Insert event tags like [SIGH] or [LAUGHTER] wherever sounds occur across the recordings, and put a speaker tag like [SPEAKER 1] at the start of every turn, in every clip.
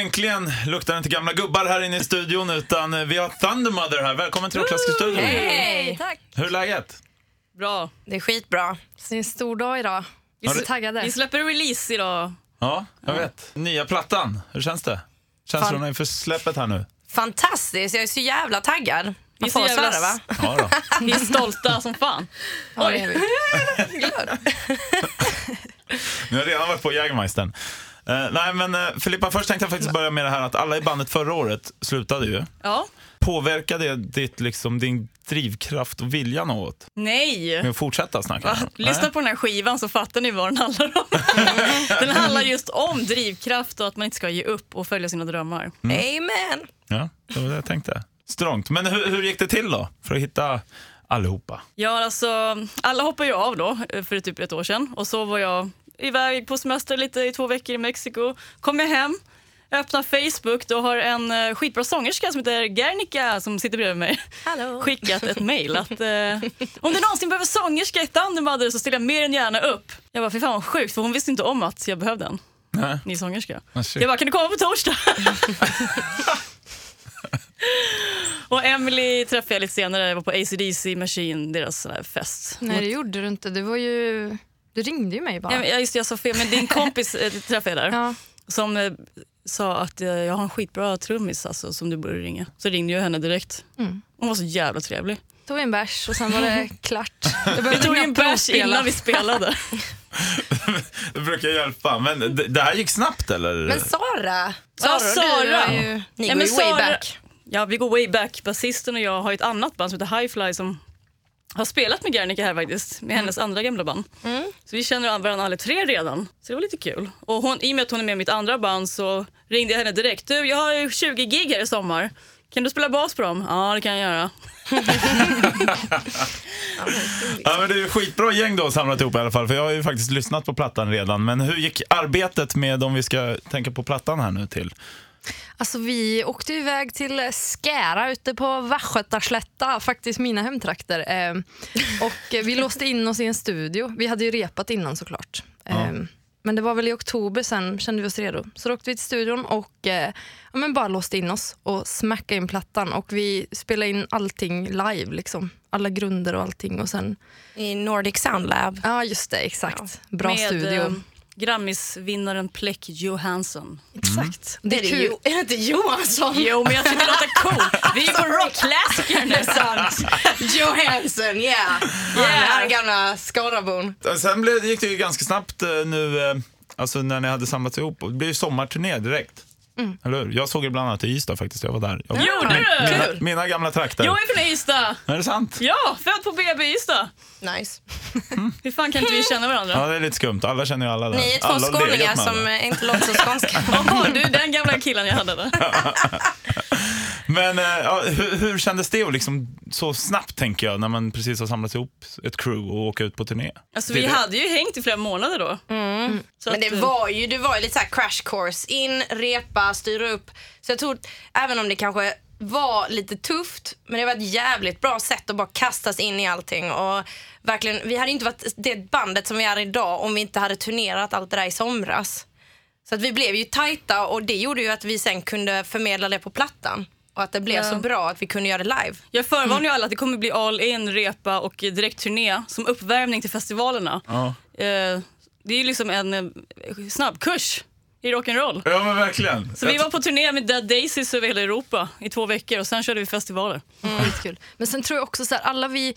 [SPEAKER 1] Äntligen luktar det inte gamla gubbar här inne i studion utan eh, vi har Thundermother här. Välkommen till Rockklassikerstudion.
[SPEAKER 2] Hej!
[SPEAKER 3] Tack.
[SPEAKER 1] Hur är läget?
[SPEAKER 2] Bra.
[SPEAKER 3] Det är skitbra. Så det är en stor dag idag. Vi är
[SPEAKER 1] Har
[SPEAKER 3] så
[SPEAKER 1] du-
[SPEAKER 3] taggade.
[SPEAKER 2] Vi släpper release
[SPEAKER 3] [LAUGHS]
[SPEAKER 2] idag.
[SPEAKER 1] Ja, jag vet. Nya plattan, hur känns det?
[SPEAKER 3] Fan.
[SPEAKER 1] Känslorna inför släppet här nu?
[SPEAKER 3] Fantastiskt, jag är så jävla taggad.
[SPEAKER 2] Vi
[SPEAKER 3] Man
[SPEAKER 2] är
[SPEAKER 3] får
[SPEAKER 2] så jävla
[SPEAKER 3] svära va?
[SPEAKER 1] Ja då.
[SPEAKER 2] Vi är stolta som fan.
[SPEAKER 3] Ja, det är vi.
[SPEAKER 1] Nu har jag redan varit på Jägermeistern. Eh, nej men eh, Filippa, först tänkte jag faktiskt börja med det här att alla i bandet förra året slutade ju.
[SPEAKER 2] Ja.
[SPEAKER 1] Påverkade det ditt, liksom, din drivkraft och vilja något?
[SPEAKER 2] Nej.
[SPEAKER 1] Med att fortsätta snacka?
[SPEAKER 2] Va?
[SPEAKER 1] Nej.
[SPEAKER 2] Lyssna på den här skivan så fattar ni vad den handlar om. Den handlar just om drivkraft och att man inte ska ge upp och följa sina drömmar.
[SPEAKER 3] Amen.
[SPEAKER 1] Ja, det var det jag tänkte. Strångt. Men hur, hur gick det till då? För att hitta allihopa?
[SPEAKER 2] Ja, alltså, alla hoppade ju av då eh, för typ ett år sedan och så var jag iväg på semester lite i två veckor i Mexiko. Kom jag hem, öppnar Facebook, då har en eh, skitbra sångerska som heter Gernika som sitter bredvid mig
[SPEAKER 3] Hallå.
[SPEAKER 2] skickat ett mejl att eh, om du någonsin behöver sångerska i Thundermother så ställer jag mer än gärna upp. Jag bara, fy fan vad sjukt för hon visste inte om att jag behövde en
[SPEAKER 1] Nej.
[SPEAKER 2] ny sångerska.
[SPEAKER 1] Ah, shit.
[SPEAKER 2] Jag bara, kan du komma
[SPEAKER 1] [LAUGHS]
[SPEAKER 2] på torsdag? och Emily träffade jag lite senare, jag var på ACDC Machine, deras sån här fest.
[SPEAKER 4] Nej, det gjorde du inte. Du, var ju... du ringde ju mig bara.
[SPEAKER 2] Ja, just det, jag sa fel, men din kompis eh, träffade jag där
[SPEAKER 4] Ja.
[SPEAKER 2] som eh, sa att eh, jag har en skitbra trummis alltså, som du borde ringa. Så ringde jag henne direkt.
[SPEAKER 4] Mm.
[SPEAKER 2] Hon var så jävla trevlig.
[SPEAKER 4] Tog en bärs och sen
[SPEAKER 2] [LAUGHS]
[SPEAKER 4] var det klart. Jag
[SPEAKER 2] Vi tog en bärs innan vi spelade.
[SPEAKER 1] Det brukar hjälpa. Men det, det här gick snabbt eller?
[SPEAKER 3] Men Sara,
[SPEAKER 2] Ja,
[SPEAKER 3] och du
[SPEAKER 2] Sara.
[SPEAKER 3] är ju, ni
[SPEAKER 2] Ja,
[SPEAKER 3] går
[SPEAKER 2] men
[SPEAKER 3] ju way
[SPEAKER 2] Sara-
[SPEAKER 3] back.
[SPEAKER 2] Ja, vi går way back. Basisten och jag har ett annat band som heter Highfly som har spelat med Gernika här faktiskt, med hennes andra gamla band. Så vi känner varandra alla tre redan, så det var lite kul. Och hon, i och med att hon är med i mitt andra band så ringde jag henne direkt. Du, jag har ju 20 gig här i sommar. Kan du spela bas på dem? Ja, det kan jag göra.
[SPEAKER 1] Ja, men det är ju skitbra gäng då samlat ihop i alla fall. För jag har ju faktiskt lyssnat på plattan redan. Men hur gick arbetet med om vi ska tänka på plattan här nu till?
[SPEAKER 4] Alltså, vi åkte ju iväg till Skära ute på Västgötaslätta, faktiskt mina hemtrakter. Eh, Och eh, vi låste in oss i en studio. Vi hade ju repat innan såklart. Eh, Men det var väl i oktober sen kände vi oss redo. Så då åkte vi till studion och eh, ja, men bara låste in oss och smackade in plattan. Och vi spelade in allting live, liksom. alla grunder och allting. Och sen
[SPEAKER 3] I Nordic Sound Lab.
[SPEAKER 4] Ja, just det. Exakt. Bra
[SPEAKER 2] med
[SPEAKER 4] studio.
[SPEAKER 2] eh, Grammisvinnaren Pleck Johansson.
[SPEAKER 4] Exakt.
[SPEAKER 3] Det är, det
[SPEAKER 4] kul.
[SPEAKER 3] ju, är [LAUGHS] det inte Johansson?
[SPEAKER 2] Jo, men jag tycker det låter coolt. Vi är [LAUGHS] på rockklassiker nu. sant?
[SPEAKER 3] Johansson, yeah. Den här gamla Skarabon.
[SPEAKER 1] Sen blev, gick det ju ganska snabbt eh, nu, eh, alltså när ni hade samlat ihop. Och Det blev ju sommarturné direkt.
[SPEAKER 3] Mm.
[SPEAKER 1] Eller hur? Jag såg er bland annat i Ystad faktiskt, jag var där. Jag,
[SPEAKER 2] Gjorde du?
[SPEAKER 1] mina,
[SPEAKER 2] Kul.
[SPEAKER 1] mina gamla trakter.
[SPEAKER 2] Jag är från Ystad.
[SPEAKER 1] Är det sant?
[SPEAKER 2] Ja, född på BB i Ystad.
[SPEAKER 3] Nice.
[SPEAKER 2] Hur fan kan inte vi känna varandra?
[SPEAKER 1] Ja, det är lite skumt. Alla känner ju alla där.
[SPEAKER 3] Ni är
[SPEAKER 1] alla
[SPEAKER 3] två
[SPEAKER 1] har legat
[SPEAKER 3] skåningar
[SPEAKER 1] med
[SPEAKER 3] som
[SPEAKER 1] alla.
[SPEAKER 3] eh, inte låter så
[SPEAKER 2] [LAUGHS]
[SPEAKER 3] skånska.
[SPEAKER 2] Jaha, du är den gamla killen jag hade där.
[SPEAKER 1] Men eh, ja, hur, hur kändes det att liksom, så snabbt, tänker jag, när man precis har samlat ihop ett crew och åka ut på turné?
[SPEAKER 2] Alltså,
[SPEAKER 1] Det är
[SPEAKER 2] vi
[SPEAKER 1] det.
[SPEAKER 2] hade ju hängt i flera månader då. Så
[SPEAKER 3] Mm. Men det
[SPEAKER 2] att, eh,
[SPEAKER 3] var ju, det var ju lite så här crash course. In, repa, styra upp. Så jag tror, även om det kanske var lite tufft, men det var ett jävligt bra sätt att bara kastas in i allting. Och verkligen, vi hade inte varit det bandet som vi är idag om vi inte hade turnerat allt det där i somras. Så att vi blev ju tajta och det gjorde ju att vi sen kunde förmedla det på plattan. Och att det blev
[SPEAKER 2] Ja.
[SPEAKER 3] så bra att vi kunde göra det live.
[SPEAKER 2] Jag förvarnar ju
[SPEAKER 3] Mm.
[SPEAKER 2] alla att det kommer bli all in, repa och direktturné som uppvärmning till festivalerna.
[SPEAKER 1] Ja.
[SPEAKER 2] Eh, det är ju liksom en eh, snabbkurs i rock'n'roll.
[SPEAKER 1] Ja men verkligen.
[SPEAKER 2] Så vi var på turné med Dead Daisies över hela Europa i två veckor och sen körde vi festivaler.
[SPEAKER 4] Mm. Skitkul. Men sen tror jag också så här, alla vi,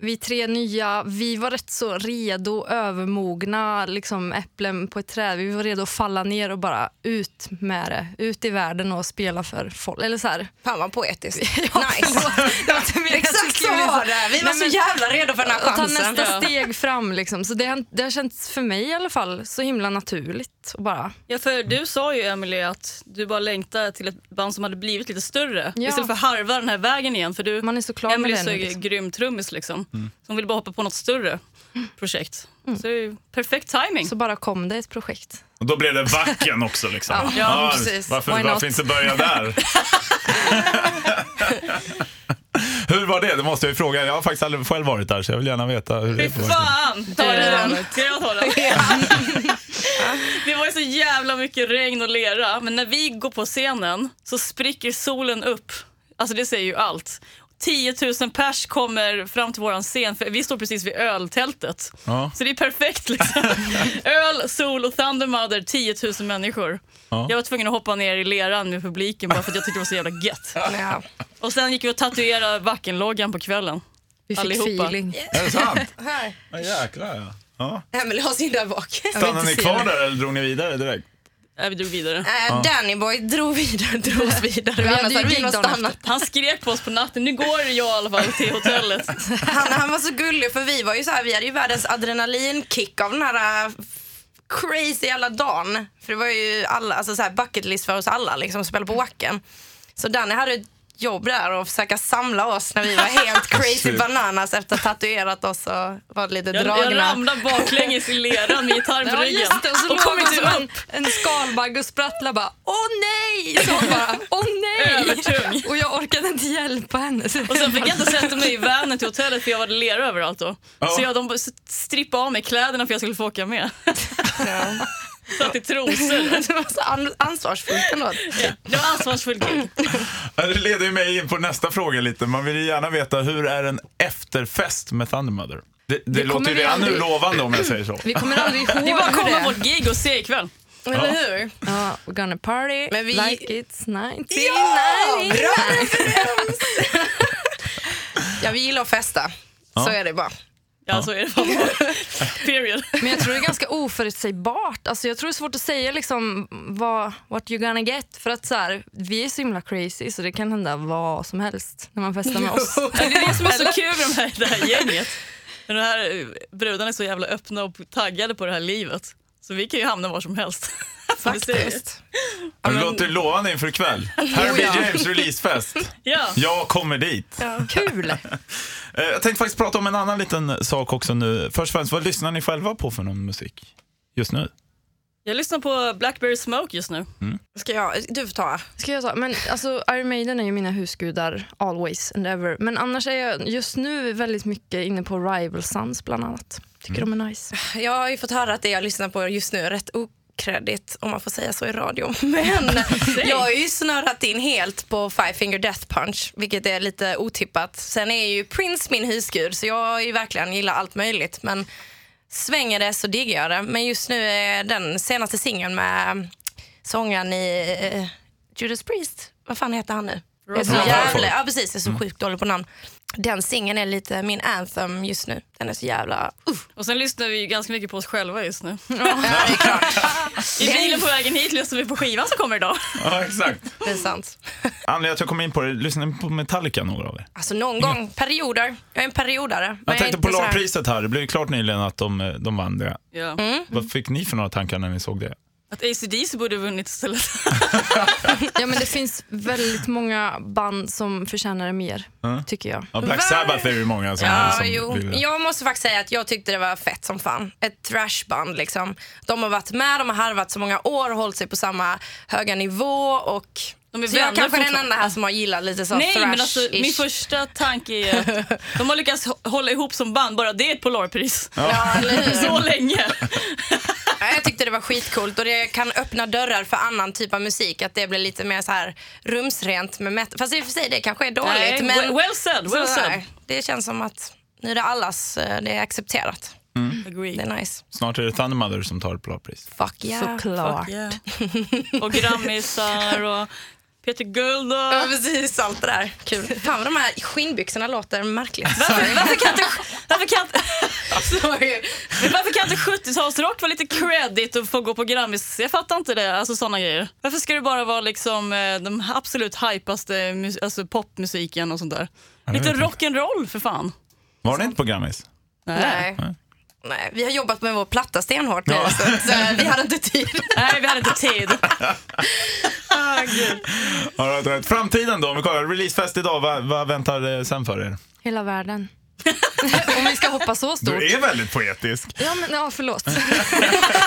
[SPEAKER 4] vi tre nya, vi var rätt så redo, övermogna liksom äpplen på ett träd. Vi var redo att falla ner och bara ut med det, ut i världen och spela för folk. Eller så här.
[SPEAKER 3] Fan vad
[SPEAKER 2] [LAUGHS]
[SPEAKER 3] poetiskt. nice.
[SPEAKER 4] förlåt. Det var inte meningen att jag
[SPEAKER 3] Exakt så
[SPEAKER 4] skulle bli
[SPEAKER 3] var det. Vi var
[SPEAKER 4] Nej,
[SPEAKER 3] så
[SPEAKER 4] men-
[SPEAKER 3] jävla redo för den här
[SPEAKER 4] Och ta
[SPEAKER 3] chansen.
[SPEAKER 4] nästa
[SPEAKER 2] Ja.
[SPEAKER 4] steg fram. Liksom. Så det, har- det har känts, för mig i alla fall, så himla naturligt. Och bara,
[SPEAKER 2] Ja, för du sa ju Emily att du bara längtade till ett band som hade blivit lite större
[SPEAKER 4] Ja.
[SPEAKER 2] istället för att harva den här vägen igen. För du,
[SPEAKER 4] Man är så klar med
[SPEAKER 2] Emily
[SPEAKER 4] det
[SPEAKER 2] så
[SPEAKER 4] nu,
[SPEAKER 2] är
[SPEAKER 4] liksom.
[SPEAKER 2] grym trummis liksom. Så hon ville bara hoppa på något större projekt. Så det är ju perfekt timing.
[SPEAKER 4] Mm. så bara kom det ett projekt.
[SPEAKER 1] Och då blev det Vacken också liksom.
[SPEAKER 4] Ja,
[SPEAKER 2] ja, [LAUGHS]
[SPEAKER 4] precis.
[SPEAKER 1] Varför,
[SPEAKER 4] Why not?
[SPEAKER 1] varför inte börja där? Hur var det? Det måste jag ju fråga. Jag har faktiskt aldrig själv varit där så jag vill gärna veta hur det
[SPEAKER 2] Fy
[SPEAKER 1] var.
[SPEAKER 2] fan! Ta
[SPEAKER 3] du
[SPEAKER 2] den.
[SPEAKER 3] den?
[SPEAKER 2] Ska jag ta den?
[SPEAKER 4] [LAUGHS]
[SPEAKER 2] [LAUGHS] Det var ju så jävla mycket regn och lera, men när vi går på scenen så spricker solen upp. Alltså det säger ju allt. 10 000 pers kommer fram till våran scen, för vi står precis vid öltältet.
[SPEAKER 1] Ja.
[SPEAKER 2] Så det är perfekt liksom.
[SPEAKER 1] [LAUGHS]
[SPEAKER 2] Öl, sol och Thundermother, 10 000 människor.
[SPEAKER 1] Ja.
[SPEAKER 2] Jag var tvungen att hoppa ner i leran med publiken bara för att jag tyckte det var så jävla gött.
[SPEAKER 3] Ja.
[SPEAKER 2] Och sen gick vi och tatuerade Wacken-loggan på kvällen.
[SPEAKER 4] Vi fick
[SPEAKER 2] Allihopa.
[SPEAKER 4] feeling.
[SPEAKER 1] Är det sant?
[SPEAKER 3] Här.
[SPEAKER 1] Ja, jäklar ja. ja.
[SPEAKER 3] Emelie har sin där bak.
[SPEAKER 1] Stannade
[SPEAKER 4] inte
[SPEAKER 1] ni
[SPEAKER 4] se
[SPEAKER 1] kvar
[SPEAKER 4] det.
[SPEAKER 1] där eller drog ni vidare direkt?
[SPEAKER 2] Äh, Vi drog vidare.
[SPEAKER 3] Eh, Danny Boy drog vidare, drog oss vidare.
[SPEAKER 4] Vi hade
[SPEAKER 3] Annars
[SPEAKER 4] ju
[SPEAKER 3] hade vi
[SPEAKER 4] gig
[SPEAKER 3] nog
[SPEAKER 4] dagen
[SPEAKER 3] stannat.
[SPEAKER 2] Han skrek på oss på natten, nu går jag i alla fall till hotellet.
[SPEAKER 3] Han, han var så gullig för vi var ju så här, vi hade ju världens adrenalinkick av den här äh, crazy alla dagen. För det var ju alla, alltså så här bucket list för oss alla liksom, att spela på Wacken. Så Danny hade ett jobb där och försöka samla oss när vi var
[SPEAKER 1] [LAUGHS]
[SPEAKER 3] helt crazy
[SPEAKER 1] Shit.
[SPEAKER 3] bananas efter att ha tatuerat oss och varit lite
[SPEAKER 2] Jag, jag
[SPEAKER 3] dragna.
[SPEAKER 2] ramlade baklänges i leran med gitarren på
[SPEAKER 4] Ja,
[SPEAKER 2] ryggen.
[SPEAKER 4] just det. Och så
[SPEAKER 2] och
[SPEAKER 4] låg
[SPEAKER 2] kom
[SPEAKER 4] hon
[SPEAKER 2] inte
[SPEAKER 4] som en,
[SPEAKER 2] upp.
[SPEAKER 4] en skalbagge och sprattlade bara åh nej! Så hon bara åh nej!
[SPEAKER 2] Övertung.
[SPEAKER 4] Och jag orkade inte hjälpa henne. Så
[SPEAKER 2] Och sen fick jag inte sätta mig i vanen till hotellet för jag var lera överallt då.
[SPEAKER 1] Ja.
[SPEAKER 2] Så jag, de bara strippade av mig kläderna för jag skulle få åka med. Satt
[SPEAKER 1] [LAUGHS]
[SPEAKER 2] i trosor.
[SPEAKER 3] [LAUGHS] Det var så an- ansvarsfullt ändå.
[SPEAKER 2] Det var ansvarsfullt gig.
[SPEAKER 1] Ja, Det leder ju mig in på nästa fråga lite. Man vill ju gärna veta hur är en efterfest med Thundermother? Det, det, låter
[SPEAKER 4] kommer
[SPEAKER 1] ju
[SPEAKER 4] vi
[SPEAKER 1] redan nu
[SPEAKER 4] aldrig-
[SPEAKER 1] lovande om jag säger så.
[SPEAKER 4] Vi kommer aldrig ihåg
[SPEAKER 2] [LAUGHS] Det är bara att
[SPEAKER 4] hur det
[SPEAKER 2] komma på
[SPEAKER 4] är.
[SPEAKER 2] ett gig och se ikväll.
[SPEAKER 3] Eller hur?
[SPEAKER 4] Ja, we're gonna party
[SPEAKER 3] Men vi-
[SPEAKER 4] like it's 1990.
[SPEAKER 3] Bra referens! [LAUGHS] ja, vi gillar att festa. Så är det bara.
[SPEAKER 2] Ja, så är det
[SPEAKER 3] [LAUGHS]
[SPEAKER 2] bara. Period.
[SPEAKER 4] Men jag tror det är ganska oförutsägbart. Alltså jag tror det är svårt att säga liksom vad, what you gonna get. För att så här, vi är så himla crazy så det kan hända vad som helst när man festar
[SPEAKER 3] [LAUGHS]
[SPEAKER 4] med oss.
[SPEAKER 2] Men det är det som är så kul med de här, det här gänget. Men De här eh, brudarna är så jävla öppna och taggade på det här livet. Så vi kan ju hamna var som helst. [LAUGHS] Som vi säger.
[SPEAKER 3] Faktiskt.
[SPEAKER 1] Det låter ju lovande inför ikväll. Harry B. James releasefest.
[SPEAKER 2] Ja.
[SPEAKER 1] Jag kommer dit.
[SPEAKER 4] Kul!
[SPEAKER 1] Eh, Jag tänkte faktiskt prata om en annan liten sak också nu. Först och främst, vad lyssnar ni själva på för någon musik just nu?
[SPEAKER 2] Jag lyssnar på Blackberry Smoke just nu.
[SPEAKER 3] Ska jag, du får ta.
[SPEAKER 4] Ska jag ta? Men alltså, Iron Maiden är ju mina husgudar always and ever. Men annars är jag just nu väldigt mycket inne på Rival Sons bland annat. Tycker
[SPEAKER 1] Mm.
[SPEAKER 4] de är nice.
[SPEAKER 3] Jag har ju fått höra att det jag lyssnar på just nu är rätt okreddigt, om man får säga så i radio. [LAUGHS] Men
[SPEAKER 1] [LAUGHS]
[SPEAKER 3] jag har ju snurrat in helt på Five Finger Death Punch, vilket är lite otippat. Sen är ju Prince min husgud, så jag har ju verkligen gillar allt möjligt. Men svänger det så diggar jag det. Men just nu är den senaste singeln med sångaren i eh, Judas Priest, vad fan heter han nu? Jag är så
[SPEAKER 1] Robert
[SPEAKER 3] jävla,
[SPEAKER 1] Halford. Mm.
[SPEAKER 3] ja precis, jag är så sjukt dålig på namn. Den singeln är lite min anthem just nu. Den är så jävla... Uh.
[SPEAKER 2] Och sen lyssnar vi ju ganska mycket på oss själva just nu.
[SPEAKER 3] Ja, det är klart.
[SPEAKER 2] I bilen på vägen hit lyssnar vi på skivan som kommer idag.
[SPEAKER 1] Ja, exakt.
[SPEAKER 3] Det är sant.
[SPEAKER 1] Anledningen till att jag kom in på det, lyssnar ni på Metallica några av er?
[SPEAKER 3] Alltså någon gång, perioder. Jag är en periodare. Men
[SPEAKER 1] Jag
[SPEAKER 3] är
[SPEAKER 1] tänkte
[SPEAKER 3] inte
[SPEAKER 1] på
[SPEAKER 3] så här-
[SPEAKER 1] Polarpriset här, det blev ju klart nyligen att de, eh, de vann det.
[SPEAKER 2] Ja.
[SPEAKER 1] Vad fick ni för några tankar när ni såg det?
[SPEAKER 2] Mm. Att ACDC borde ha vunnit istället.
[SPEAKER 4] Ja, men det finns väldigt många band som förtjänar det mer, tycker jag.
[SPEAKER 1] Ja, Black
[SPEAKER 3] Va?
[SPEAKER 1] Sabbath är ju många som,
[SPEAKER 3] Ja,
[SPEAKER 1] som
[SPEAKER 3] jo.
[SPEAKER 1] vill det.
[SPEAKER 3] Jag måste faktiskt säga att jag tyckte det var fett som fan. Ett thrashband liksom. De har varit med, de har harvat så många år och hållit sig på samma höga nivå och
[SPEAKER 2] De är
[SPEAKER 3] så jag
[SPEAKER 2] vänner
[SPEAKER 3] kanske är den
[SPEAKER 2] fortfarande.
[SPEAKER 3] enda här som har gillat lite så
[SPEAKER 2] Nej,
[SPEAKER 3] thrash
[SPEAKER 2] men alltså, min första tanke är att de har lyckats hå- hålla ihop som band, bara det är ett Polarpris.
[SPEAKER 3] Ja, eller hur?
[SPEAKER 2] [LAUGHS] Så länge.
[SPEAKER 3] [LAUGHS] Ja, jag tyckte det var skitcoolt och det kan öppna dörrar för annan typ av musik. Att det blir lite mer så här rumsrent med metal. Fast i och för sig, det kanske är dåligt.
[SPEAKER 2] Nej,
[SPEAKER 3] men
[SPEAKER 2] well- well said, well
[SPEAKER 3] Så här,
[SPEAKER 2] said.
[SPEAKER 3] Det känns som att nu är det allas, eh, det är accepterat. Det
[SPEAKER 2] Agree.
[SPEAKER 3] är nice.
[SPEAKER 1] Snart är det Thundermother som tar Polarpris.
[SPEAKER 3] Fuck yeah.
[SPEAKER 4] Såklart.
[SPEAKER 2] Yeah. [LAUGHS] Och grammisar och Peter Guld
[SPEAKER 3] Ja,
[SPEAKER 2] och...
[SPEAKER 3] precis. Allt det där. Kul. Fan vad de här skinnbyxorna låter märkligt.
[SPEAKER 2] Varför, varför kan
[SPEAKER 3] [LAUGHS]
[SPEAKER 2] inte, varför kan inte, men varför kan inte 70-talsrock vara lite credit och få gå på Grammis? Jag fattar inte det. Alltså såna grejer. Varför ska det bara vara liksom eh, den absolut hypaste mus- alltså popmusiken och sånt där? Lite
[SPEAKER 1] vet
[SPEAKER 2] rock'n'roll för fan.
[SPEAKER 1] Var det inte på Grammis?
[SPEAKER 3] Nej. Nej, vi har jobbat med vår platta stenhårt nu,
[SPEAKER 1] Ja.
[SPEAKER 3] så, så vi hade inte
[SPEAKER 2] [LAUGHS]
[SPEAKER 3] tid.
[SPEAKER 2] Nej, vi hade inte tid.
[SPEAKER 1] All right, all right. Framtiden då, om vi kollar. Releasefest idag, vad, vad väntar eh, sen för er?
[SPEAKER 4] Hela världen. [LAUGHS] Om vi ska hoppa så stort.
[SPEAKER 1] Du är väldigt poetisk.
[SPEAKER 4] Ja, men, ja,
[SPEAKER 1] [LAUGHS]
[SPEAKER 4] förlåt.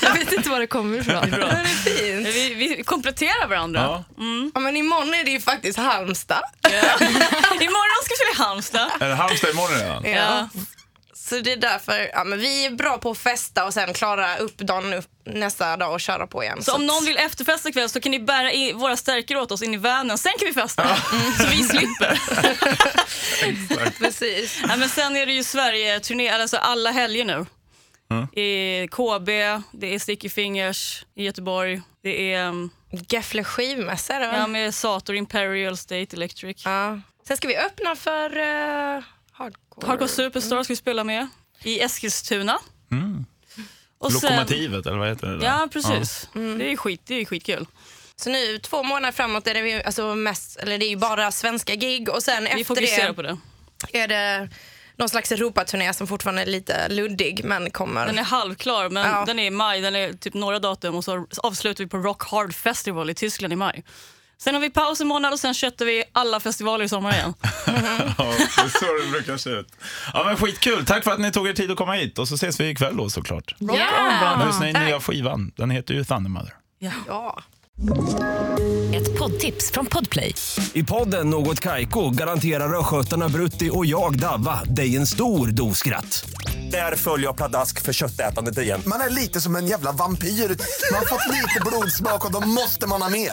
[SPEAKER 4] jag vet inte var det kommer ifrån.
[SPEAKER 2] Bra.
[SPEAKER 3] Men det är fint.
[SPEAKER 2] Vi, vi kompletterar varandra.
[SPEAKER 1] Ja.
[SPEAKER 3] Ja, men imorgon är det ju faktiskt Halmstad.
[SPEAKER 2] Ja. Imorgon ska vi till Halmstad.
[SPEAKER 1] Är det Halmstad imorgon redan?
[SPEAKER 2] Ja.
[SPEAKER 3] Så det är därför ja, men vi är bra på att festa och sen klara upp dagen upp nästa dag och köra på igen.
[SPEAKER 2] Så om
[SPEAKER 3] att-
[SPEAKER 2] någon vill efterfesta ikväll så kan ni bära i våra stärker åt oss in i vanen. Sen kan vi festa, mm. så vi slipper.
[SPEAKER 3] Precis. [LAUGHS]
[SPEAKER 2] Nej, men sen är det ju Sverige-turné, alltså alla helger nu. I KB, det är Sticky Fingers i Göteborg. Det är um,
[SPEAKER 3] Gefle skivmässa är det
[SPEAKER 2] ja,
[SPEAKER 3] väl?
[SPEAKER 2] med Sator, Imperial, State Electric.
[SPEAKER 3] Ja. Sen ska vi öppna för eh, hardcore.
[SPEAKER 2] Hardcore Superstar ska vi spela med i Eskilstuna. Och sen-
[SPEAKER 1] Lokomotivet, eller vad heter det? där?
[SPEAKER 2] Ja, precis. Det är ju skit, det är ju skitkul.
[SPEAKER 3] Så nu två månader framåt är det, ju, alltså mest, eller det är ju bara svenska gig och sen
[SPEAKER 2] Vi
[SPEAKER 3] efter
[SPEAKER 2] fokuserar
[SPEAKER 3] det,
[SPEAKER 2] på det.
[SPEAKER 3] är det någon slags Europaturné som fortfarande är lite luddig men kommer.
[SPEAKER 2] Den är halvklar, men
[SPEAKER 3] Ja.
[SPEAKER 2] den är i maj. Den är typ några datum och så avslutar vi på Rock Hard Festival i Tyskland i maj. Sen har vi paus en månad och sen köttar vi alla festivaler i sommar igen.
[SPEAKER 1] Ja, [LAUGHS] det är så det brukar se ut. Ja, men skitkul. Tack för att ni tog er tid att komma hit. Och så ses vi ikväll då såklart.
[SPEAKER 4] Ja.
[SPEAKER 1] Lyssna in nya skivan. Den heter ju Thunder Mother.
[SPEAKER 3] ja.
[SPEAKER 5] Ett poddtips från Podplay.
[SPEAKER 6] I podden Något Kaiko garanterar östgötarna Brutti och jag, Davva, dig en stor dos skratt. Där följer jag pladask för köttätandet igen.
[SPEAKER 7] Man är lite som en jävla vampyr. Man har fått lite blodsmak och då måste man ha mer.